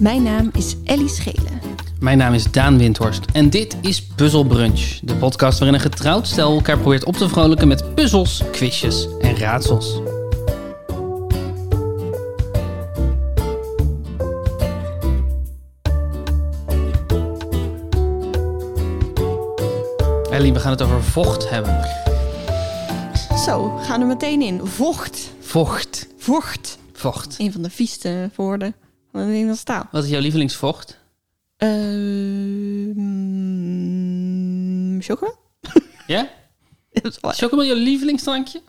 Mijn naam is Ellie Schelen. Mijn naam is Daan Windhorst en dit is Puzzle Brunch, de podcast waarin een getrouwd stel elkaar probeert op te vrolijken met puzzels, quizjes en raadsels. Ellie, we gaan het over vocht hebben. Zo, gaan we meteen in. Vocht. Vocht. Vocht. Vocht. Een van de vieste woorden van de Nederlandse taal. Wat is jouw lievelingsvocht? Ehm mm, chocola? Ja? Dat is wel- Is chocomel jouw lievelingsdrankje?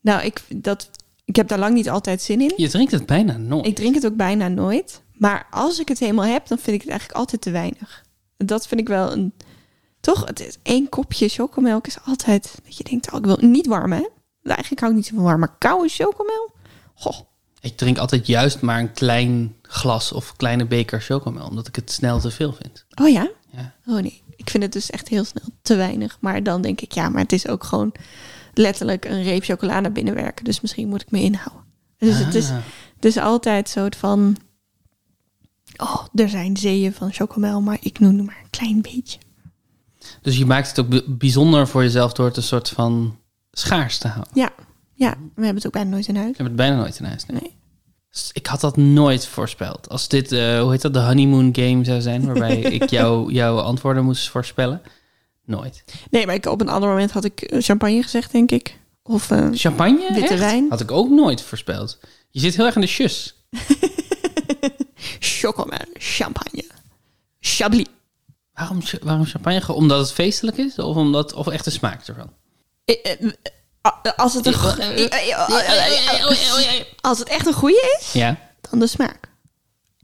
Nou, ik, dat, ik heb daar lang niet altijd zin in. Je drinkt het bijna nooit. Ik drink het ook bijna nooit. Maar als ik het helemaal heb, dan vind ik het eigenlijk altijd te weinig. Dat vind ik wel een... Toch, het is één kopje chocomelk is altijd... Dat je denkt, oh, ik wil niet warm, hè? Eigenlijk hou ik niet zo van warm, maar koude chocomelk? Goh, Ik drink altijd juist maar een klein glas of kleine beker chocomel, omdat ik het snel te veel vind. oh ja? Ja. Oh nee, ik vind het dus echt heel snel te weinig. Maar dan denk ik, ja, maar het is ook gewoon letterlijk een reep chocola naar binnen werken. Dus misschien moet ik me inhouden. Dus het is Ah. dus altijd zo van... Oh, er zijn zeeën van chocomel, maar ik noem er maar een klein beetje. Dus je maakt het ook b- bijzonder voor jezelf door het een soort van schaars te houden. Ja, ja, we hebben het ook bijna nooit in huis. Ik heb het bijna nooit in huis. nee. Nee. Dus Ik had dat nooit voorspeld. Als dit, eh, hoe heet dat, de honeymoon game zou zijn, waarbij ik jou, jouw antwoorden moest voorspellen. Nooit. Nee, maar ik, op een ander moment had ik eh, champagne gezegd, denk ik. Of eh, Champagne? Witte echt? wijn. Had ik ook nooit voorspeld. Je zit heel erg in de shus. chocomel, champagne, chablis. Waarom, cha- waarom champagne? Omdat het feestelijk is of, omdat, of echt de smaak ervan? Eh, eh, eh, Als het, een go- als het echt een goede is, Ja. dan de smaak.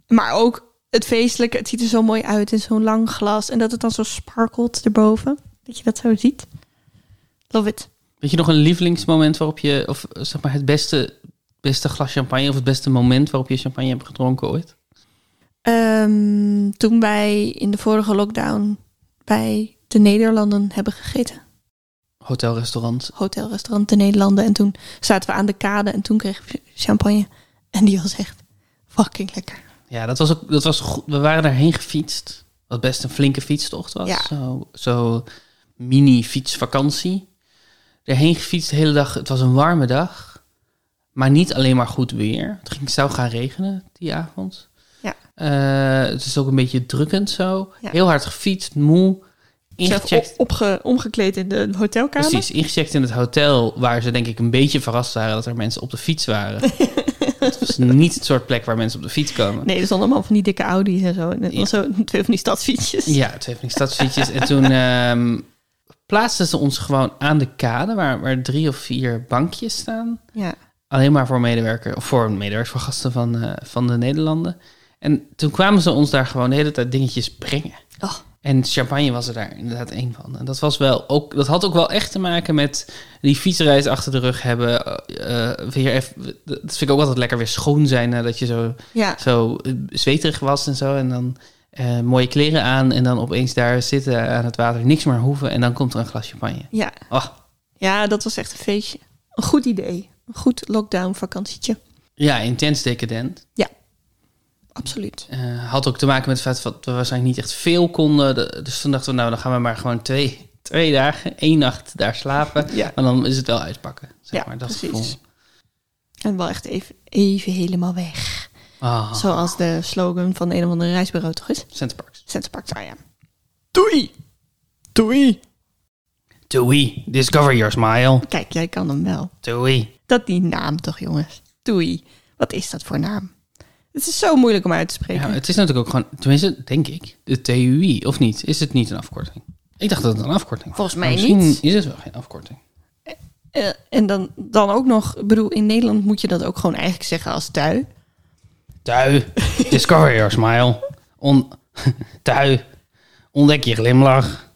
Maar ook het feestelijke, het ziet er zo mooi uit in zo'n lang glas. En dat het dan zo sparkelt erboven. Dat je dat zo ziet. Love it. Weet je nog een lievelingsmoment waarop je, of eh, zeg maar het beste, beste glas champagne of het beste moment waarop je champagne hebt gedronken ooit? Ehm, toen wij in de vorige lockdown bij de Nederlanden hebben gegeten. Hotel, restaurant. Hotelrestaurant de Nederlanden. En toen zaten we aan de kade en toen kregen we champagne. En die was echt fucking lekker. Ja, dat was ook, dat was goed. We waren daarheen gefietst. Wat best een flinke fietstocht was. Ja. Zo, zo mini fietsvakantie. Daarheen gefietst de hele dag. Het was een warme dag. Maar niet alleen maar goed weer. Het ging, zou gaan regenen die avond. Ja. Eh, het is ook een beetje drukkend zo. Ja. Heel hard gefietst, moe. Zelf Ingecheckt. op- opge- omgekleed in de hotelkamer. Precies, ingecheckt in het hotel waar ze denk ik een beetje verrast waren dat er mensen op de fiets waren. het was niet het soort plek waar mensen op de fiets komen. Nee, er stonden allemaal van die dikke Audi's en zo. En dat Ja. was zo twee van die stadsfietsjes. Ja, twee van die stadsfietsjes. en toen ehm, plaatsten ze ons gewoon aan de kade waar, waar drie of vier bankjes staan. Ja. Alleen maar voor medewerker, of voor medewerkers, voor gasten van, eh, van de Nederlanden. En toen kwamen ze ons daar gewoon de hele tijd dingetjes brengen. Oh, En champagne was er daar inderdaad één van. En dat, was wel ook, dat had ook wel echt te maken met die fietsreis achter de rug hebben. eh, eh, weer even, dat vind ik ook altijd lekker weer schoon zijn nadat je zo, ja. zo eh, zweterig was en zo. En dan eh, mooie kleren aan en dan opeens daar zitten aan het water, niks meer hoeven. En dan komt er een glas champagne. Ja. Oh, ja, dat was echt een feestje. Een goed idee. Een goed lockdown vakantietje. ja, intens decadent. Absoluut. Eh, had ook te maken met het feit dat we waarschijnlijk niet echt veel konden. De- dus toen dachten we, nou, dan gaan we maar gewoon twee, twee dagen, één nacht daar slapen. Ja. Maar dan is het wel uitpakken. Zeg Ja, maar, dat precies. gevoel. En wel echt even, even helemaal weg. Ah, Zoals de slogan van een of andere reisbureau toch is. Centerparks. Centerpark ja. Doei! Doei! Toei, discover your smile. Kijk, jij kan hem wel. Toei. Dat die naam toch, jongens. Doei. Wat is dat voor naam? Het is zo moeilijk om uit te Ja, spreken. het is natuurlijk ook gewoon, tenminste, denk ik, de TUI, of niet? Is het niet een afkorting? Ik dacht dat het een afkorting was. Volgens mij Maar misschien niet. is het wel geen afkorting. Eh, en dan, dan ook nog, ik bedoel, in Nederland moet je dat ook gewoon eigenlijk zeggen als tui. Tui, discover your smile. On, tui, ontdek je glimlach.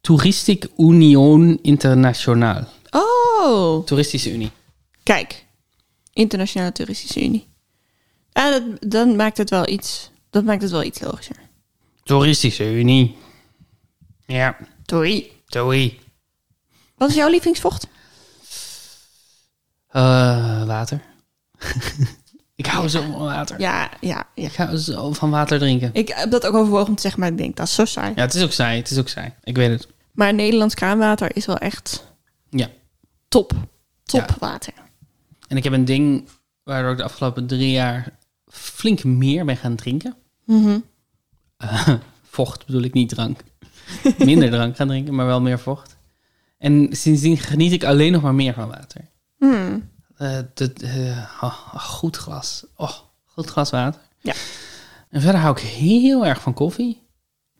Toeristic Union Internationaal. Oh, Toeristische Unie. kijk. Internationale Toeristische Unie. Ah, dat, dan maakt het wel iets, dat maakt het wel iets logischer. Toeristische Unie. Ja, Doei. TUI. Wat is jouw lievelingsvocht? Eh, water. ik hou zo van water. Ja, ja, ja. Ik hou zo van water drinken. Ik heb dat ook overwogen om te zeggen, maar ik denk, dat is zo saai. Ja, het is ook saai. Het is ook saai. Ik weet het. Maar Nederlands kraanwater is wel echt Ja. top. Top Ja. water. En ik heb een ding waardoor ik de afgelopen drie jaar flink meer ben gaan drinken. Mhm. Eh, vocht bedoel ik niet drank. Minder drank gaan drinken, maar wel meer vocht. En sindsdien geniet ik alleen nog maar meer van water. Hmm. Eh, dat, eh, oh, oh, goed glas. Oh, goed glas water. Ja. En verder hou ik heel erg van koffie.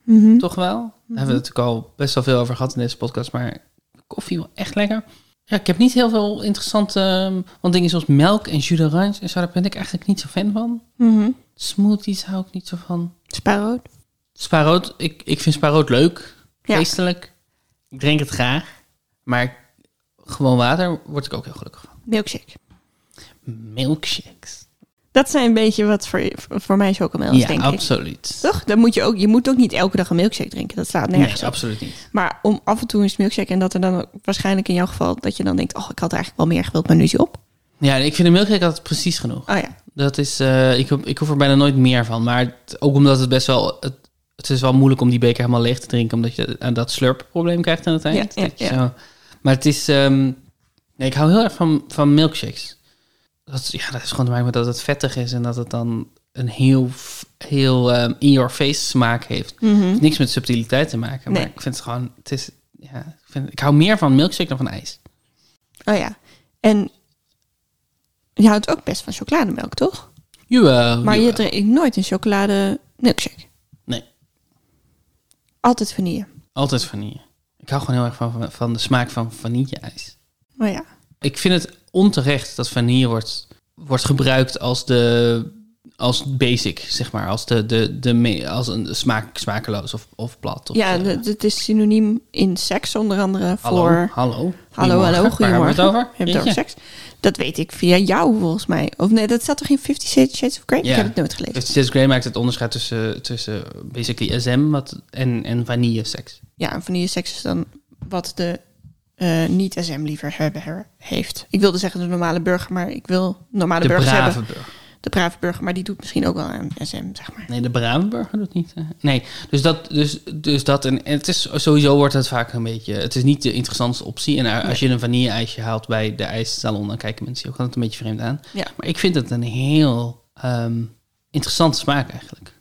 Mhm. Toch wel? Daar hebben we het natuurlijk al best wel veel over gehad in deze podcast. Maar koffie wel echt lekker. Ja, ik heb niet heel veel interessante... ehm, want dingen zoals melk en jus d'orange en zo... daar ben ik eigenlijk niet zo fan van. Mhm. Smoothies hou ik niet zo van. Spaarrood. Spaarrood, ik, ik vind spaarrood leuk. Ja. Geestelijk. Ik drink het graag. Maar gewoon water word ik ook heel gelukkig van. Milkshake. Milkshakes. Dat zijn een beetje wat voor, voor mij chocomel is, ja, denk ik. absoluut. Toch? Dan moet je, ook, je moet ook niet elke dag een milkshake drinken. Dat slaat nergens Nee, op. absoluut niet. Maar om af en toe eens milkshake en dat er dan ook waarschijnlijk in jouw geval... dat je dan denkt, oh, ik had eigenlijk wel meer gewild, maar nu is hij op. Ja, ik vind een milkshake altijd precies genoeg. Oh ja. Dat is, eh, ik, hoef- ik hoef er bijna nooit meer van. Maar het- ook omdat het best wel, het, het is wel moeilijk om die beker helemaal leeg te drinken. Omdat je aan dat slurpprobleem krijgt aan het eind. Ja, ja, Dat je ja. zo- maar het is, ehm, nee, ik hou heel erg van, van milkshakes. Dat, is- ja, dat is gewoon te maken met dat het vettig is. En dat het dan een heel, f- heel ehm, in-your-face smaak heeft. Het Mhm. heeft niks met subtiliteit te maken. Maar Nee. ik vind het gewoon, het is, ja, ik, vind, ik hou meer van milkshake dan van ijs. Oh ja. En je houdt ook best van chocolademelk, toch? Jawel, Maar je jawel. drinkt nooit een chocolade milkshake. Nee. Altijd vanille. Altijd vanille. Ik hou gewoon heel erg van, van de smaak van vanille-ijs. Oh ja. Ik vind het onterecht dat vanille wordt, wordt gebruikt als de als basic, zeg maar. Als, de, de, de me- als een smaak, smakeloos of, of plat. Of, ja, eh, d- het is synoniem in seks onder andere hallo, voor... hallo. Hallo, hallo, Waar hebben we goedemorgen. het over? Heb je het over Rietje? seks? Dat weet ik via jou volgens mij. Of nee, dat staat toch in Fifty Shades of Grey? Ja. Ik heb het nooit gelezen. Dus Jess Grey maakt het onderscheid tussen, tussen basically SM wat, en, en vanille seks. Ja, en vanille seks is dan wat de eh, niet-SM-liefhebber heeft. Ik wilde zeggen de normale burger, maar ik wil normale De burgers brave hebben. burger. De brave burger, maar die doet misschien ook wel aan SM, zeg maar. Nee, de brave burger doet niet. eh, Nee, dus dat, dus, dus dat en, en het is sowieso wordt het vaak een beetje. Het is niet de interessantste optie. En eh, als je een vanille ijsje haalt bij de ijssalon, dan kijken mensen ook altijd een beetje vreemd aan. Ja. Maar ik vind het een heel ehm, interessante smaak eigenlijk.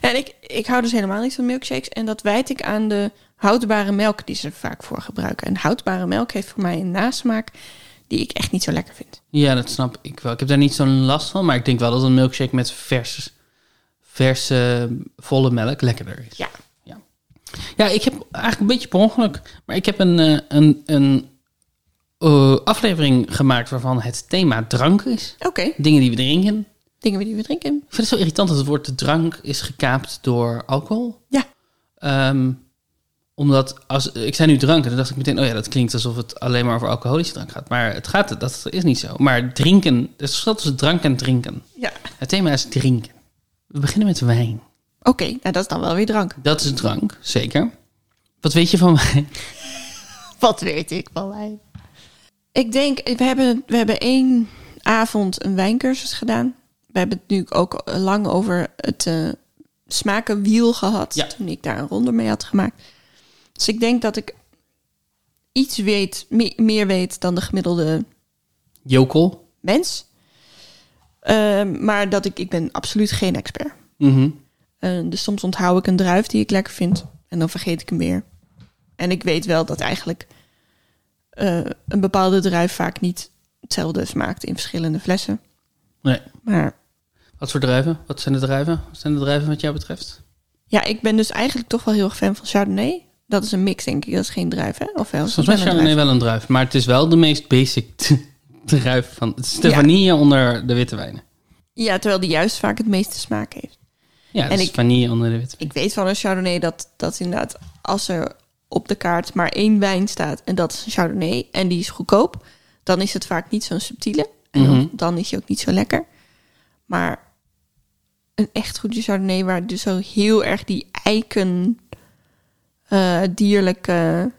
En ik, ik hou dus helemaal niet van milkshakes. En dat wijd ik aan de houdbare melk die ze er vaak voor gebruiken. En houdbare melk heeft voor mij een nasmaak die ik echt niet zo lekker vind. Ja, dat snap ik wel. Ik heb daar niet zo'n last van, maar ik denk wel dat een milkshake met vers, verse volle melk lekkerder is. Ja. Ja, ik heb eigenlijk een beetje per ongeluk. Maar ik heb een, eh, een, een eh, aflevering gemaakt waarvan het thema drank is. Oké, Dingen die we drinken. dingen die we drinken. Ik vind het zo irritant dat het woord drank is gekaapt door alcohol. Ja. Ehm, omdat als ik zei nu drank en dan dacht ik meteen, oh ja, dat klinkt alsof het alleen maar over alcoholische drank gaat. Maar het gaat, dat is niet zo. Maar drinken, er is een verschil tussen drank en drinken. Ja. Het thema is drinken. We beginnen met wijn. Oké, nou dat is dan wel weer drank. Dat is drank, zeker. Wat weet je van wijn? Wat weet ik wel, hij. Ik denk, we hebben, we hebben één avond een wijncursus gedaan. We hebben het nu ook lang over het eh, smakenwiel gehad. Ja. Toen ik daar een ronde mee had gemaakt. Dus ik denk dat ik iets weet, me- meer weet dan de gemiddelde Jokel. mens. Eh, maar dat ik, ik ben absoluut geen expert. Mhm. Eh, dus soms onthoud ik een druif die ik lekker vind en dan vergeet ik hem weer. En ik weet wel dat eigenlijk eh, een bepaalde druif vaak niet hetzelfde smaakt in verschillende flessen. Nee. Maar Wat voor druiven? Wat zijn de druiven? Wat zijn de druiven wat jou betreft? ja, ik ben dus eigenlijk toch wel heel erg fan van Chardonnay. Dat is een mix, denk ik. Dat is geen druif, hè? Of wel? is Volgens dat mij is wel een Chardonnay wel een druif, maar het is wel de meest basic druif van. Het is de Ja. vanille onder de witte wijnen. druif? Ja, terwijl die juist vaak het meeste smaak heeft. Ja, het En is ik- vanille onder de witte Ik weet van een Chardonnay dat, dat inderdaad als er op de kaart maar één wijn staat en dat is een Chardonnay en die is goedkoop, dan is het vaak niet zo'n subtiele en dan- Mhm. dan is je ook niet zo lekker. Maar een echt goede Chardonnay waar dus zo heel erg die eiken eh, dierlijke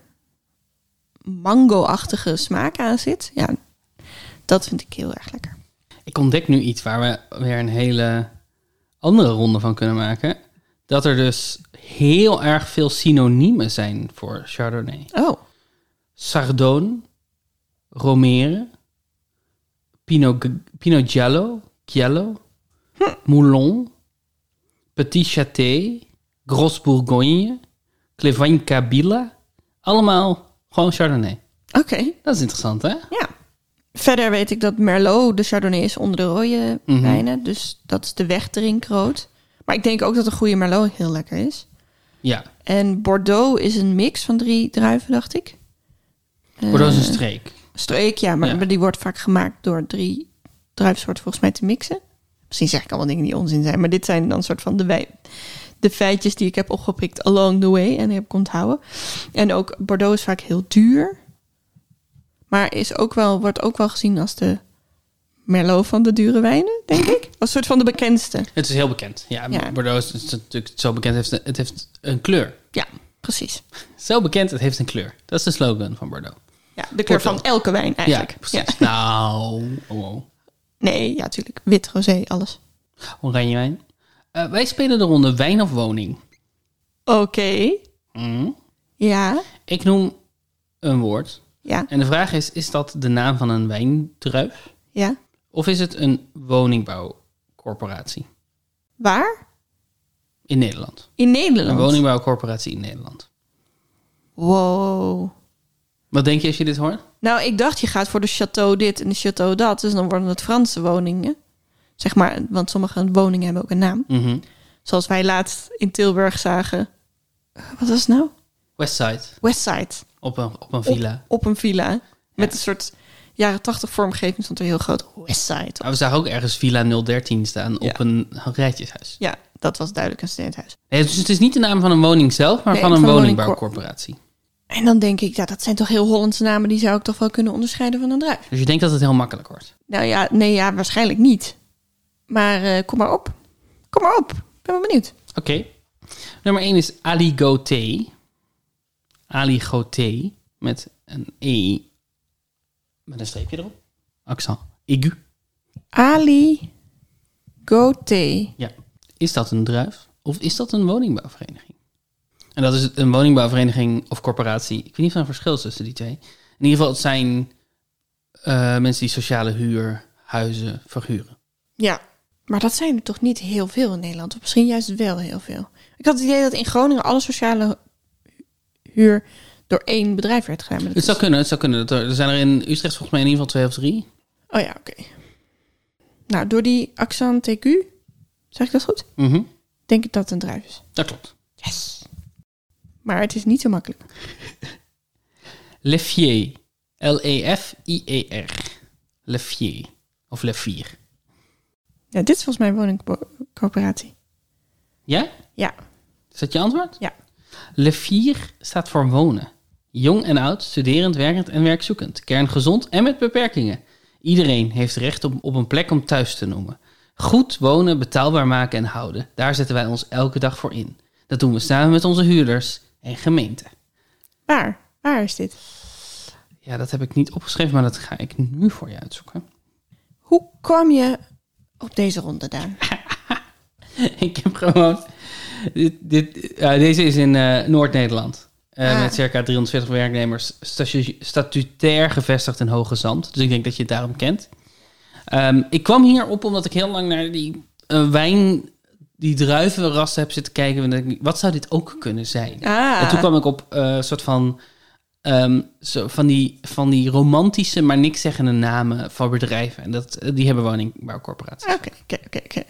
mango-achtige smaak aan zit, ja, dat vind ik heel erg lekker. wijn. Ik ontdek nu iets waar we weer een hele andere ronde van kunnen maken. Dat er dus heel erg veel synoniemen zijn voor Chardonnay. Oh, Sardone, Romere, Pinot, G- Pinot Giallo, Giallo Hm. Moulon, Petit Châté, Gros Bourgogne, Clevagne Kabila. Allemaal gewoon Chardonnay. oké. Dat is interessant, hè? Ja. Verder weet ik dat Merlot de Chardonnay is onder de rode wijnen. Dus dat is de wegdrinkrood. Maar ik denk ook dat een goede Merlot heel lekker is. Ja. En Bordeaux is een mix van drie druiven, dacht ik. Bordeaux Eh. is een streek. Streek, ja, maar Ja. maar die wordt vaak gemaakt door drie druivensoorten volgens mij te mixen. Misschien zeg ik allemaal dingen die onzin zijn, maar dit zijn dan soort van de, wij- de feitjes die ik heb opgeprikt along the way en heb onthouden. En ook Bordeaux is vaak heel duur, maar is ook wel, wordt ook wel gezien als de Merlot van de dure wijnen, denk ik. Als soort van de bekendste. Het is heel bekend. Ja, Ja. Bordeaux is is natuurlijk zo bekend. Het heeft, het heeft een kleur. Ja, precies. Zo bekend, het heeft een kleur. Dat is de slogan van Bordeaux. Ja, de kleur van elke wijn eigenlijk. Ja, precies. Nou, oh, oh. Nee, ja, natuurlijk. Wit, rosé, alles. oranje wijn. Eh, wij spelen de ronde wijn of woning. Oké. Mm. Ja, Ik noem een woord. ja, En de vraag is, is dat de naam van een wijndruif? ja. Of is het een woningbouwcorporatie Waar? in Nederland? In Een Nederland. woningbouwcorporatie in Nederland. Wow. Wat denk je als je dit hoort? Nou, ik dacht je gaat voor de château dit en de château dat. Dus dan worden het Franse woningen. Zeg maar, want sommige woningen hebben ook een naam. Mhm. Zoals wij laatst in Tilburg zagen. Eh, Wat was het nou? Westside, Westside. op een, op een villa. Op een villa. Met een soort jaren tachtig vormgeving stond er heel groot Westside. Maar Nou, we zagen ook ergens Villa 013 staan op een rijtjeshuis. Ja, dat was duidelijk een studentenhuis. Nee, dus het is niet de naam van een woning zelf, maar Nee, van een van een woningbouwcorporatie. En dan denk ik, ja, dat zijn toch heel Hollandse namen. Die zou ik toch wel kunnen onderscheiden van een druif. Dus je denkt dat het heel makkelijk wordt. Nou ja, nee, ja, waarschijnlijk niet. Maar eh, kom maar op. Kom maar op. Ik ben wel benieuwd. Oké. Nummer 1 is Ali Goté. Ali Goté met een E. Met een streepje erop. Accent. Aigu. Ali Gote. Ja. Is dat een druif? Of is dat een woningbouwvereniging? En dat is het- een woningbouwvereniging of corporatie. Ik weet niet of er een verschil is tussen die twee. In ieder geval, het zijn eh, mensen die sociale huur, huizen verhuren. Ja. Maar dat zijn er toch niet heel veel in Nederland? Of misschien juist wel heel veel. Ik had het idee dat in Groningen alle sociale hu- huur door één bedrijf werd gedaan. maar dat Het zou kunnen, het zou kunnen. Dat Er er zijn er in Utrecht volgens mij in ieder geval twee of drie. is- Oh ja, oké. Nou, door die accent aigu, zeg ik dat goed? Mhm. Denk ik dat het een druif is. Dat klopt. Yes. Maar het is niet zo makkelijk. Lefier. E L-E-F-I-E-R. Lefier. Of Lefier. Ja, dit is volgens mij een woningcorporatie. Ja? Ja. Is dat je antwoord? Ja. Lefier staat voor wonen. Jong en oud, studerend, werkend en werkzoekend. Kerngezond en met beperkingen. Iedereen heeft recht op, op een plek om thuis te noemen. Goed wonen, betaalbaar maken en houden. Daar zetten wij ons elke dag voor in. Dat doen we samen met onze huurders en gemeente. Waar? Waar is dit? Ja, dat heb ik niet opgeschreven, maar dat ga ik nu voor je uitzoeken. Hoe kwam je op deze ronde, Daan? Ik heb gewoon. Dit, dit, ja, deze is in eh, Noord-Nederland. Eh, Ah. Met circa 340 werknemers. statu- Statutair gevestigd in Hoge Zand. Dus ik denk dat je het daarom kent. Ehm, ik kwam hier op omdat ik heel lang naar die eh, wijn. Die druivenrassen heb zitten kijken. En denk ik, Wat zou dit ook kunnen zijn? Ah. En toen kwam ik op eh, een soort van. ehm, zo van, die, van die romantische, maar niks zeggende namen van bedrijven. En dat, eh, die hebben woningbouwcorporaties. Oké, oké, oké, oké.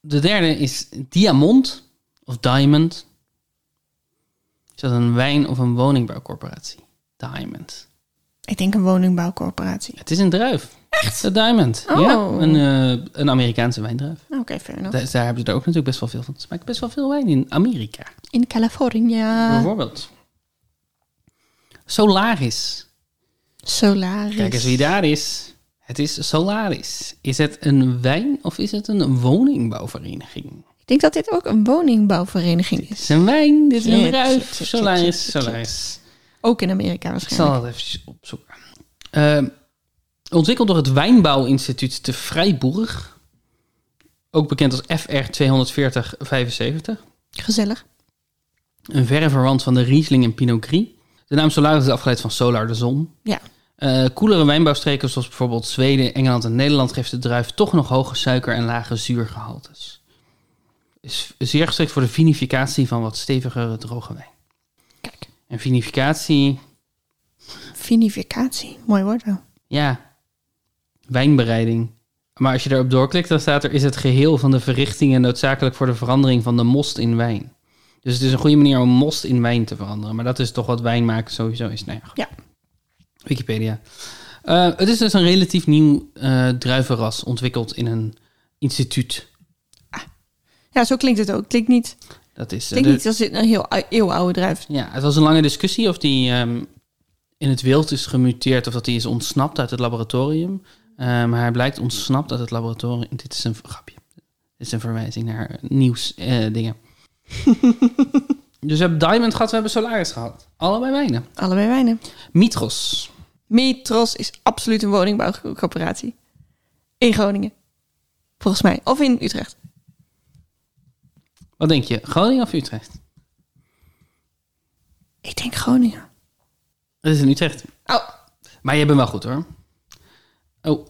De derde is Diamond of Diamond. Is dat een wijn of een woningbouwcorporatie? Diamond. Ik denk een woningbouwcorporatie. Het is een druif. Echt? De Diamond. Oh. Ja, een, eh, een Amerikaanse wijndruif. Oké, fair enough. Da- Daar hebben ze er ook natuurlijk best wel veel van. Ze maken best wel veel wijn in Amerika. In California. Bijvoorbeeld. Solaris. Solaris. Kijk eens wie daar is. Het is Solaris. Is het een wijn of is het een woningbouwvereniging? Ik denk dat dit ook een woningbouwvereniging Dit is. is een wijn, dit is Shit, een druif. shit, shit, shit, shit, Solaris, shit. Solaris. Ook in Amerika Ik zal waarschijnlijk. dat even opzoeken. Ehm, Ontwikkeld door het Wijnbouwinstituut te Vrijburg. Ook bekend als FR 24075. Gezellig. Een verre verwant van de Riesling en Pinot Gris. De naam Solaris is afgeleid van solar, de zon. Ja. Eh, koelere wijnbouwstreken zoals bijvoorbeeld Zweden, Engeland en Nederland geeft de druif toch nog hoge suiker- en lage zuurgehaltes. Is zeer geschikt voor de vinificatie van wat stevigere droge wijn. Kijk. En vinificatie, Vinificatie. Mooi woord wel. ja, wijnbereiding. Maar als je daarop doorklikt, dan staat er: is het geheel van de verrichtingen noodzakelijk voor de verandering van de most in wijn. Dus het is een goede manier om most in wijn te veranderen. Maar dat is toch wat wijn maken sowieso is. Nou ja, Ja. Wikipedia. Eh, het is dus een relatief nieuw eh, druivenras ontwikkeld in een instituut. Ja, zo klinkt het ook. Het klinkt niet, Dat is, eh, klinkt de- niet als dit een heel ou- eeuwenoude druif. ja, het was een lange discussie of die ehm, in het wild is gemuteerd of dat hij is ontsnapt uit het laboratorium. Eh, maar hij blijkt ontsnapt uit het laboratorium. Dit is een v- grapje. Dit is een verwijzing naar nieuws eh, dingen. dus we hebben Diamond gehad, we hebben Solaris gehad. Allebei wijnen. Allebei wijnen. Mitros. Metros is absoluut een woningbouwcoöperatie. In Groningen. Volgens mij. Of in Utrecht. Wat denk je? Groningen of Utrecht? Ik denk Groningen. Het is in Utrecht. Oh, Maar je bent wel goed hoor. Oh,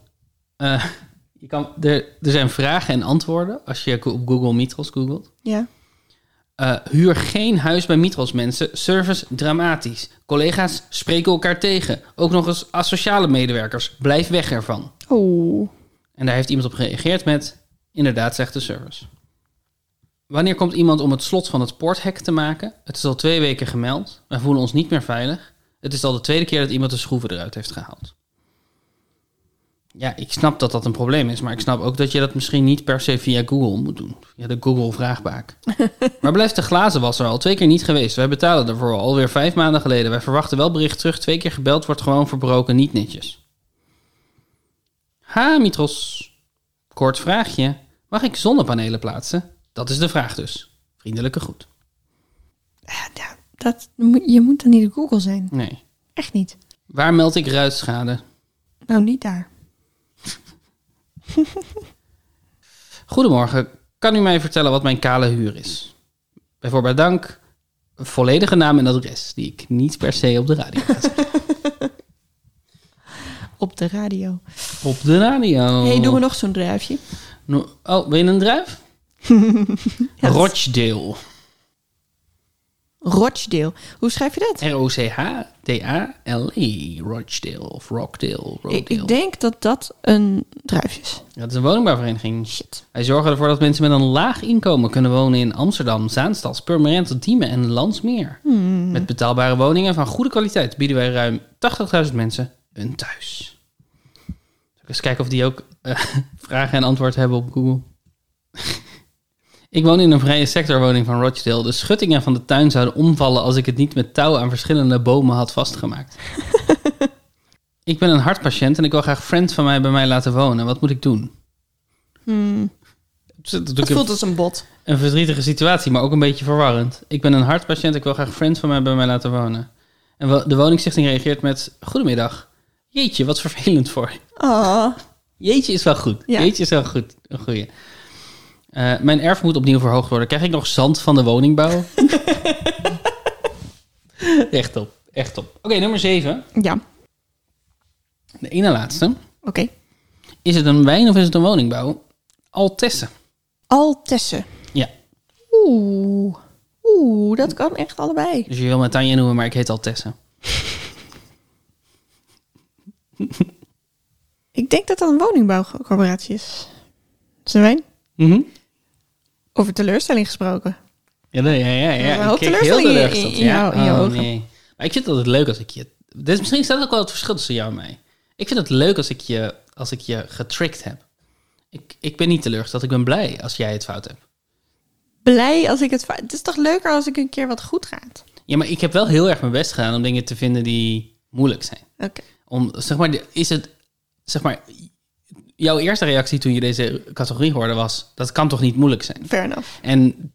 eh, je kan, er, er zijn vragen en antwoorden als je op Google Mitros googelt. ja. Eh, huur geen huis bij Mitros mensen. Service dramatisch. Collega's spreken elkaar tegen. Ook nog eens asociale medewerkers. Blijf weg ervan. Oh. En daar heeft iemand op gereageerd met... Inderdaad, zegt de service. Wanneer komt iemand om het slot van het poorthek te maken? Het is al twee weken gemeld. Wij voelen ons niet meer veilig. Het is al de tweede keer dat iemand de schroeven eruit heeft gehaald. Ja, ik snap dat dat een probleem is. Maar ik snap ook dat je dat misschien niet per se via Google moet doen. Ja, de Google-vraagbaak. maar blijft de glazenwasser al twee keer niet geweest. Wij betalen daarvoor alweer vijf maanden geleden. Wij verwachten wel bericht terug. Twee keer gebeld, wordt gewoon verbroken. Niet netjes. Ha, Mitros. Kort vraagje. Mag ik zonnepanelen plaatsen? Dat is de vraag dus. Vriendelijke groet. Ja, ja, dat, moet- je moet dan niet op Google zijn. Nee. Echt niet. Waar meld ik ruitschade? Nou, niet daar. Goedemorgen. Kan u mij vertellen wat mijn kale huur is? Bijvoorbeeld dank. Volledige naam en adres, die ik niet per se op de radio ga zeggen. Op de radio. Op de radio. hey, doen we nog zo'n druifje? No- oh, wil je een druif? Rochdale. Rochdale. Hoe schrijf je dat? R-O-C-H-D-A-L-E. E. Rochdale of Rockdale. Ik, ik Rockdale. denk dat dat een druifje is. Dat is een woningbouwvereniging. Shit. Wij zorgen ervoor dat mensen met een laag inkomen kunnen wonen in Amsterdam, Zaanstad, Purmerend, Diemen en Landsmeer. Met betaalbare woningen van goede kwaliteit bieden wij ruim 80.000 mensen een thuis. Zal ik eens kijken of die ook eh, vragen en antwoord hebben op Google. ik woon in een vrije sectorwoning van Rochdale. De schuttingen van de tuin zouden omvallen als ik het niet met touw aan verschillende bomen had vastgemaakt. ik ben een hartpatiënt en ik wil graag friend van mij bij mij laten wonen. Wat moet ik doen? Het is natuurlijk Hmm. Het een- voelt als een bot. een verdrietige situatie, maar ook een beetje verwarrend. Ik ben een hartpatiënt, ik wil graag friends van mij bij mij laten wonen. En wel- de woningstichting reageert met: Goedemiddag. Jeetje, wat vervelend voor je. Oh. Jeetje is wel goed. Ja. Jeetje is wel goed. Een goeie. Eh, mijn erf moet opnieuw verhoogd worden. Krijg ik nog zand van de woningbouw? echt op, echt op. Oké, nummer 7. Ja, oké. De ene laatste. Is het een wijn of is het een woningbouw? Altesse. Altesse. Ja, Oeh. Oeh, dat kan echt allebei. Dus je wil me Tanja noemen, maar ik heet Altesse. Ik denk dat dat een woningbouwcorporatie is. Zijn Mhm. over teleurstelling gesproken. Ja, nee, ja, ja. ja. Een hoop Ik keek heel teleurstelling in- teleurgesteld. in- in jou- in ja. jouw oh, ogen. nee. Maar ik vind het altijd leuk als ik je... Dus misschien is dat ook wel het verschil tussen jou en mij. Ik vind het leuk als ik je, als ik je getricked heb. Ik, ik ben niet teleurgesteld. Ik ben blij als jij het fout hebt. Blij als ik het... va- Het is toch leuker als ik een keer wat goed gaat? Ja, maar ik heb wel heel erg mijn best gedaan om dingen te vinden die moeilijk zijn. Oké. Om, zeg maar, de- is het... Zeg maar, jouw eerste reactie toen je deze categorie hoorde was... Dat kan toch niet moeilijk zijn? Fair enough. En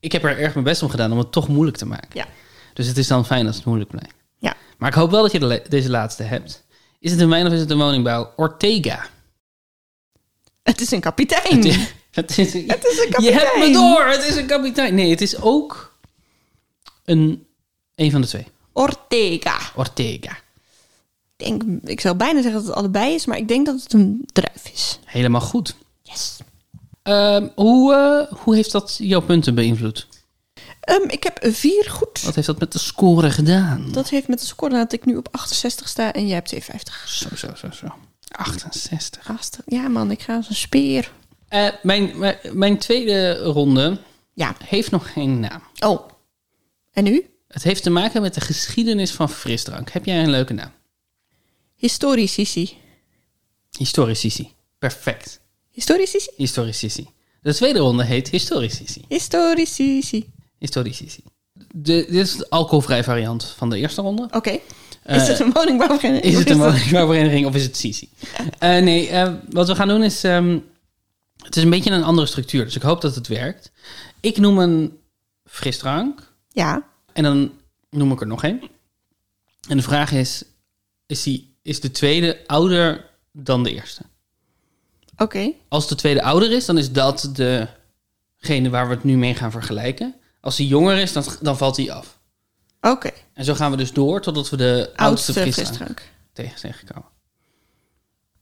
ik heb er erg mijn best om gedaan om het toch moeilijk te maken. Ja. Dus het is dan fijn als het moeilijk blijft. Ja. Maar ik hoop wel dat je de le- deze laatste hebt. Is het een wijn of is het een woningbouw? Ortega. Het is een kapitein. Het is, het is, Mm. Het is een Je hebt me kapitein. door, het is een kapitein. Nee, het is ook een, een van de twee. Ortega. Ortega. Ik Denk, ik zou bijna zeggen dat het allebei is, maar ik denk dat het een druif is. Helemaal goed. Yes. Ehm, hoe, eh, hoe heeft dat jouw punten beïnvloed? Ehm, ik heb vier goed. Wat heeft dat met de score gedaan? Dat heeft met de score dat ik nu op 68 sta en jij hebt 52. Zo, zo, zo, zo. 68. Gasten. Ja man, ik ga als een speer. Eh, mijn, mijn, mijn tweede ronde Ja. heeft nog geen naam. Oh. En nu? Het heeft te maken met de geschiedenis van frisdrank. Heb jij een leuke naam? Historici. Historicici. Perfect. Historici. Historicici. De tweede ronde heet Historicici. Historici. Historicici. De, dit is de alcoholvrij variant van de eerste ronde. Oké. Is het een woningbouw? Eh, Is het een woningbouwvereniging of is het Sisi? Eh, nee, eh, wat we gaan doen is... ehm, het is een beetje een andere structuur, dus ik hoop dat het werkt. Ik noem een frisdrank Ja. en dan noem ik er nog één. En de vraag is, is, die, is de tweede ouder dan de eerste? Oké. Als de tweede ouder is, dan is dat degene waar we het nu mee gaan vergelijken. Als die jonger is, dan, dan valt die af. Oké. En zo gaan we dus door totdat we de oudste, Oudste frisdrank, frisdrank. tegen tegenkomen.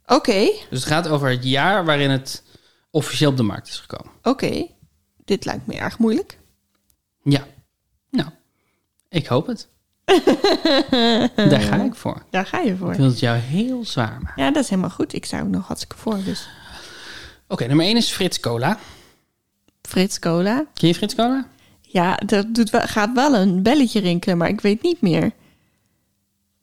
Oké. Dus het gaat over het jaar waarin het officieel op de markt is gekomen. Oké. Dit lijkt me erg moeilijk. Ja. Nou, ik hoop het. Daar ga ik voor. Daar ga je Ik voor. wil het jou heel zwaar maken. Ja, dat is helemaal goed. Ik sta ook nog hartstikke voor. Dus Oké, nummer 1 is Frits Cola. Frits Cola. Ken je Frits Cola? Ja, dat doet wel, gaat wel een belletje rinkelen, maar ik weet niet meer.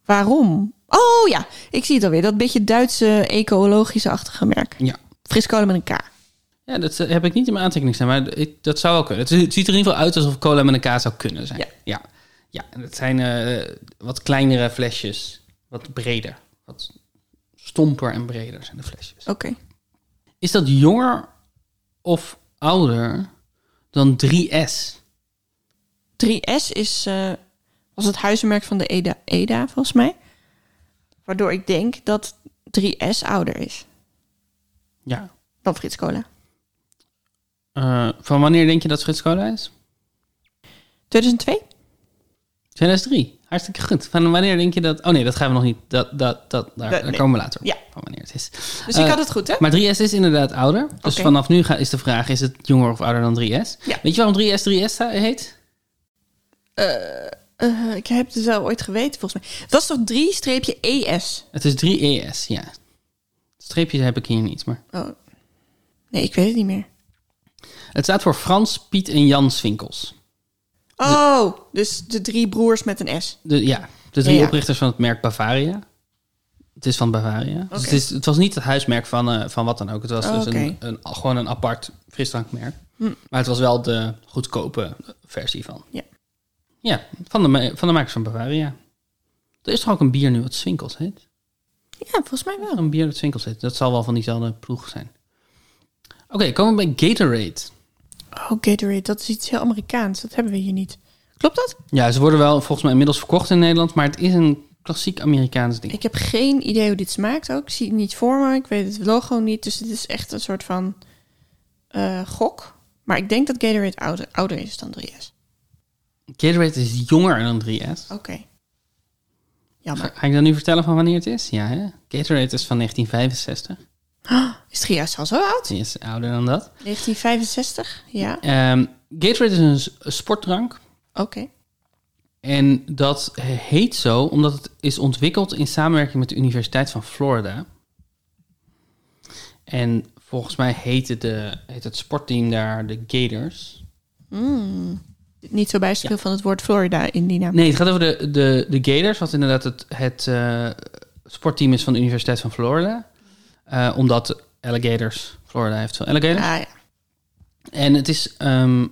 Waarom? Oh ja, ik zie het alweer. Dat beetje Duitse ecologische achtige merk. Ja. Fris cola met een K. Ja, dat eh, heb ik niet in mijn aantekening staan, maar ik- dat zou wel kunnen. Het ziet er in ieder geval uit alsof cola met een kaas zou kunnen zijn. Ja. Ja, ja. en dat zijn eh, wat kleinere flesjes, wat breder. Wat stomper en breder zijn de flesjes. Oké. Is dat jonger of ouder dan 3S? 3S is, eh, was het huizenmerk van de EDA, EDA, volgens mij. Waardoor ik denk dat 3S ouder is Ja. dan Frits Cola. Eh, van wanneer denk je dat Frits Cola is? 2002? 2003. Hartstikke goed. Van wanneer denk je dat... Oh nee, dat gaan we nog niet... Dat, dat, dat, daar Dat- daar nee. komen we later op. Ja. Van wanneer het is. Dus Eh, ik had het goed, hè? Maar 3S is inderdaad ouder. Dus Oké. vanaf nu ga- is de vraag, is het jonger of ouder dan 3S? Ja. Weet je waarom 3S 3S sta- heet? Eh, ik heb het wel ooit geweten, volgens mij. Het was toch E 3-ES? Het is 3ES, ja. Streepjes heb ik hier niet, maar... Oh. Nee, ik weet het niet meer. Het staat voor Frans, Piet en Jans Winkels. Oh, dus de drie broers met een S. De, ja, de drie Ja, ja. oprichters van het merk Bavaria. Het is van Bavaria. Dus het, is, het was niet het huismerk van, eh, van wat dan ook. Het was Oh, dus oké. Hm. een, een, gewoon een apart frisdrankmerk. Maar het was wel de goedkope versie van. Ja. Ja, van de, ma- van de makers van Bavaria. Er is toch ook een bier nu wat Swinkels heet? Ja, volgens mij wel. Een bier dat Swinkels heet. Dat zal wel van diezelfde ploeg zijn. Oké, komen we bij Gatorade. Oh, Gatorade, dat is iets heel Amerikaans. Dat hebben we hier niet. Klopt dat? Ja, ze worden wel volgens mij inmiddels verkocht in Nederland. Maar het is een klassiek Amerikaans ding. Ik heb geen idee hoe dit smaakt ook. Ik zie het niet voor me. Ik weet het logo niet. Dus het is echt een soort van eh, gok. Maar ik denk dat Gatorade ouder, ouder is dan 3S. Gatorade is jonger dan 3S. Oké. Jammer. Ga, ga ik dan nu vertellen van wanneer het is? Ja, hè? Gatorade is van 1965. Is 3S al zo oud? Die is ouder dan dat. 1965? Ja. Ehm, Gatorade is een s- een sportdrank. Oké. En dat heet zo omdat het is ontwikkeld in samenwerking met de Universiteit van Florida. En volgens mij heette de, heet het sportteam daar de Gators. Hmm. Niet zo bijster veel van het woord Florida in die naam. Nee, het gaat over de, de, de Gators, wat inderdaad het, het eh, sportteam is van de Universiteit van Florida. Eh, omdat alligators, Florida heeft veel alligators. Ah, ja. En het is ehm,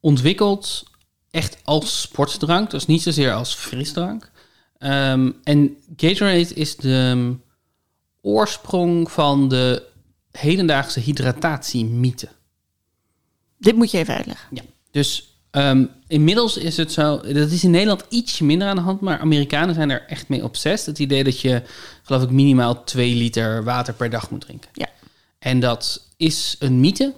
ontwikkeld echt als sportdrank, dus niet zozeer als frisdrank. Ehm, en Gatorade is de ehm, oorsprong van de hedendaagse hydratatiemythe. Dit moet je even uitleggen. Ja. Dus Ehm, inmiddels is het zo, dat is in Nederland ietsje minder aan de hand, maar Amerikanen zijn er echt mee obsessief. Het idee dat je, geloof ik, minimaal 2 liter water per dag moet drinken. Ja. En dat is een mythe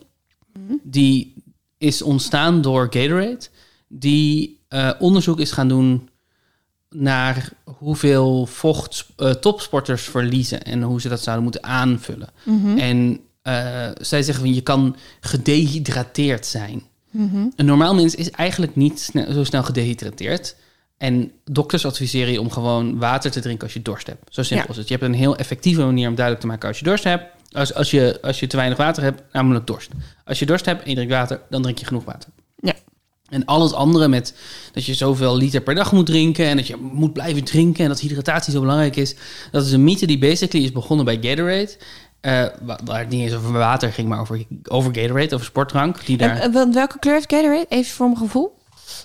die is ontstaan door Gatorade, die eh, onderzoek is gaan doen naar hoeveel vocht eh, topsporters verliezen en hoe ze dat zouden moeten aanvullen. En eh, zij zeggen van je kan gedehydrateerd zijn. Een normaal mens is eigenlijk niet sne- zo snel gedehydrateerd. En dokters adviseren je om gewoon water te drinken als je dorst hebt. Zo simpel Ja. is het. Je hebt een heel effectieve manier om duidelijk te maken als je dorst hebt. Als, als, je, als je te weinig water hebt, namelijk dorst. Als je dorst hebt en je drinkt water, dan drink je genoeg water. Ja. En al het andere met dat je zoveel liter per dag moet drinken en dat je moet blijven drinken en dat hydratatie zo belangrijk is. Dat is een mythe die basically is begonnen bij Gatorade. eh, wa- waar het niet eens over water ging, maar over, over Gatorade, over sportdrank. Die daar, En, eh, wel- welke kleur heeft Gatorade? Even voor mijn gevoel.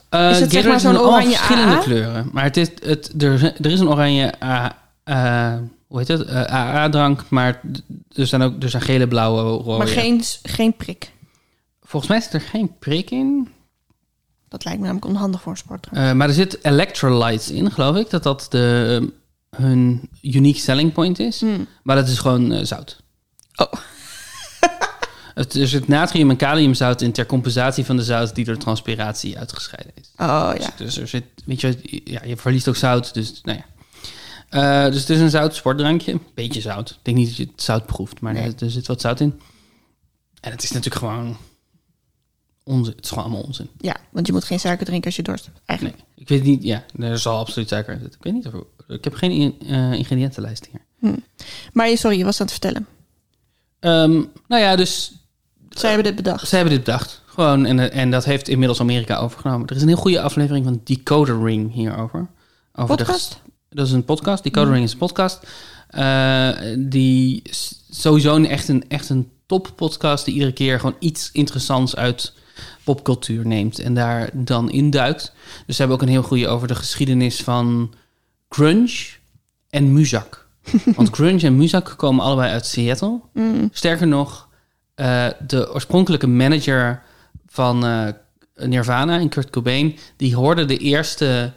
Eh, is het zeg Gatorade maar is zo'n in allemaal oranje verschillende AA? kleuren. Maar het is, het, er, er is een oranje AA, eh, hoe heet het? Eh, AA-drank, maar d- er zijn ook er zijn gele, blauwe, rode. maar geen, s- geen prik. Volgens mij zit er geen prik in. Dat lijkt me namelijk onhandig voor een sportdrank. Eh, maar er zit electrolytes in, geloof ik. Dat dat de, ehm, hun unique selling point is. Maar dat is gewoon eh, zout. Hmm. Oh. Het, er zit natrium en kaliumzout in ter compensatie van de zout die door transpiratie uitgescheiden is. Oh Dus, ja. dus er zit, weet je, ja, je verliest ook zout. Dus, nou ja. Eh, dus het is een zout sportdrankje. Beetje zout. Ik denk niet dat je het zout proeft, maar er, er zit wat zout in. En het is natuurlijk gewoon onzin. Het is gewoon allemaal onzin. Ja, want je moet geen suiker drinken als je dorst hebt. Nee, Eigenlijk. ik weet niet. Ja, er zal absoluut suiker in zitten. Ik weet niet of ik heb geen in- eh, ingrediëntenlijst hier. Maar je, sorry, je was aan het vertellen. Ehm, nou ja, dus Zij hebben dit bedacht. ze hebben dit bedacht. Gewoon, en, eh, en dat heeft inmiddels Amerika overgenomen. Er is een heel goede aflevering van Decoder Ring hierover. Over de ges- Podcast? dat is een podcast. Decoder Ring is een podcast. eh, die is sowieso een, echt, een, echt een top podcast. Die iedere keer gewoon iets interessants uit popcultuur neemt. En daar dan induikt. Dus ze hebben ook een heel goede over de geschiedenis van grunge en muzak. Want grunge en muzak komen allebei uit Seattle. Sterker nog, eh, de oorspronkelijke manager van eh, Nirvana, en Kurt Cobain, die hoorde de eerste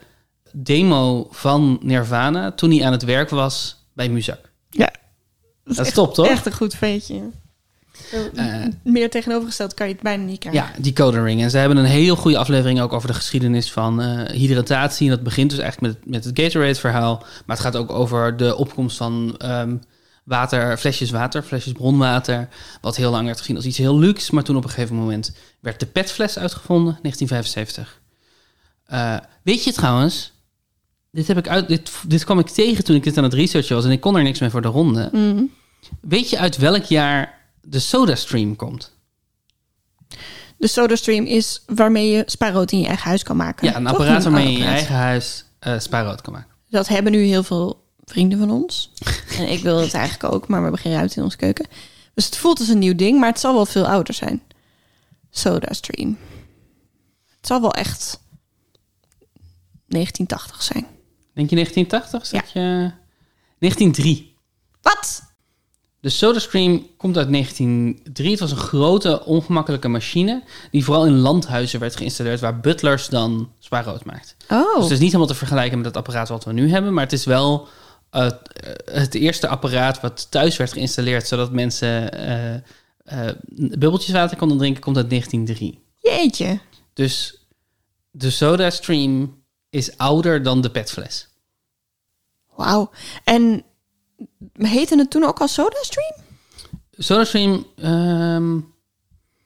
demo van Nirvana toen hij aan het werk was bij muzak. Ja. Dat Dat is echt, top, toch? echt een goed feitje. Eh, Meer tegenovergesteld kan je het bijna niet krijgen. Ja, die codering. En ze hebben een heel goede aflevering ook over de geschiedenis van eh, hydratatie. En dat begint dus eigenlijk met, met het Gatorade-verhaal. Maar het gaat ook over de opkomst van ehm, water, flesjes water, flesjes bronwater. Wat heel lang werd gezien als iets heel luxe. Maar toen op een gegeven moment werd de petfles uitgevonden, 1975. Eh, weet je trouwens, dit, heb ik uit, dit, dit kwam ik tegen toen ik dit aan het researchen was. En ik kon er niks mee voor de ronde. Mhm. Weet je uit welk jaar de SodaStream komt? De SodaStream is waarmee je spaarrood in je eigen huis kan maken. Ja, een Toch? apparaat waarmee je in je apparaat. eigen huis eh spaarrood kan maken. Dat hebben nu heel veel vrienden van ons. en ik wil het eigenlijk ook, maar we hebben geen ruimte in onze keuken. Dus het voelt als een nieuw ding, maar het zal wel veel ouder zijn. SodaStream. Het zal wel echt 1980 zijn. Denk je 1980? Zat je... eh, 1903. Wat? De SodaStream komt uit 1903. Het was een grote, ongemakkelijke machine... die vooral in landhuizen werd geïnstalleerd... waar butlers dan spaarrood maakten. Oh. Dus het is niet helemaal te vergelijken met het apparaat wat we nu hebben... maar het is wel eh, het eerste apparaat wat thuis werd geïnstalleerd... zodat mensen eh, eh, bubbeltjes water konden drinken, komt uit 1903. Jeetje. Dus de SodaStream is ouder dan de petfles. Wauw. En heette het toen ook al SodaStream? SodaStream, ehm,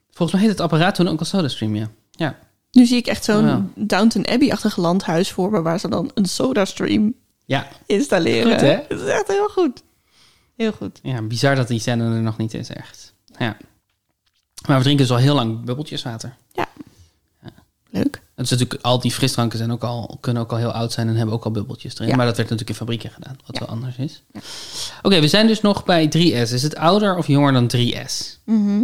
volgens mij heet het apparaat toen ook al SodaStream, ja. Ja, Nu zie ik echt zo'n Oh, ja. Downton Abbey-achtig landhuis voor me... waar ze dan een SodaStream ja, installeren. Goed, hè? Dat is echt heel goed. Heel goed. ja bizar dat die scène er nog niet is, echt. Ja. Maar we drinken dus al heel lang bubbeltjeswater. Ja. Leuk. Het is natuurlijk, al die frisdranken zijn ook al, kunnen ook al heel oud zijn en hebben ook al bubbeltjes erin. Ja. Maar dat werd natuurlijk in fabrieken gedaan, wat Ja. wel anders is. Oké, we zijn dus nog bij 3S. Is het ouder of jonger dan 3S? Mhm.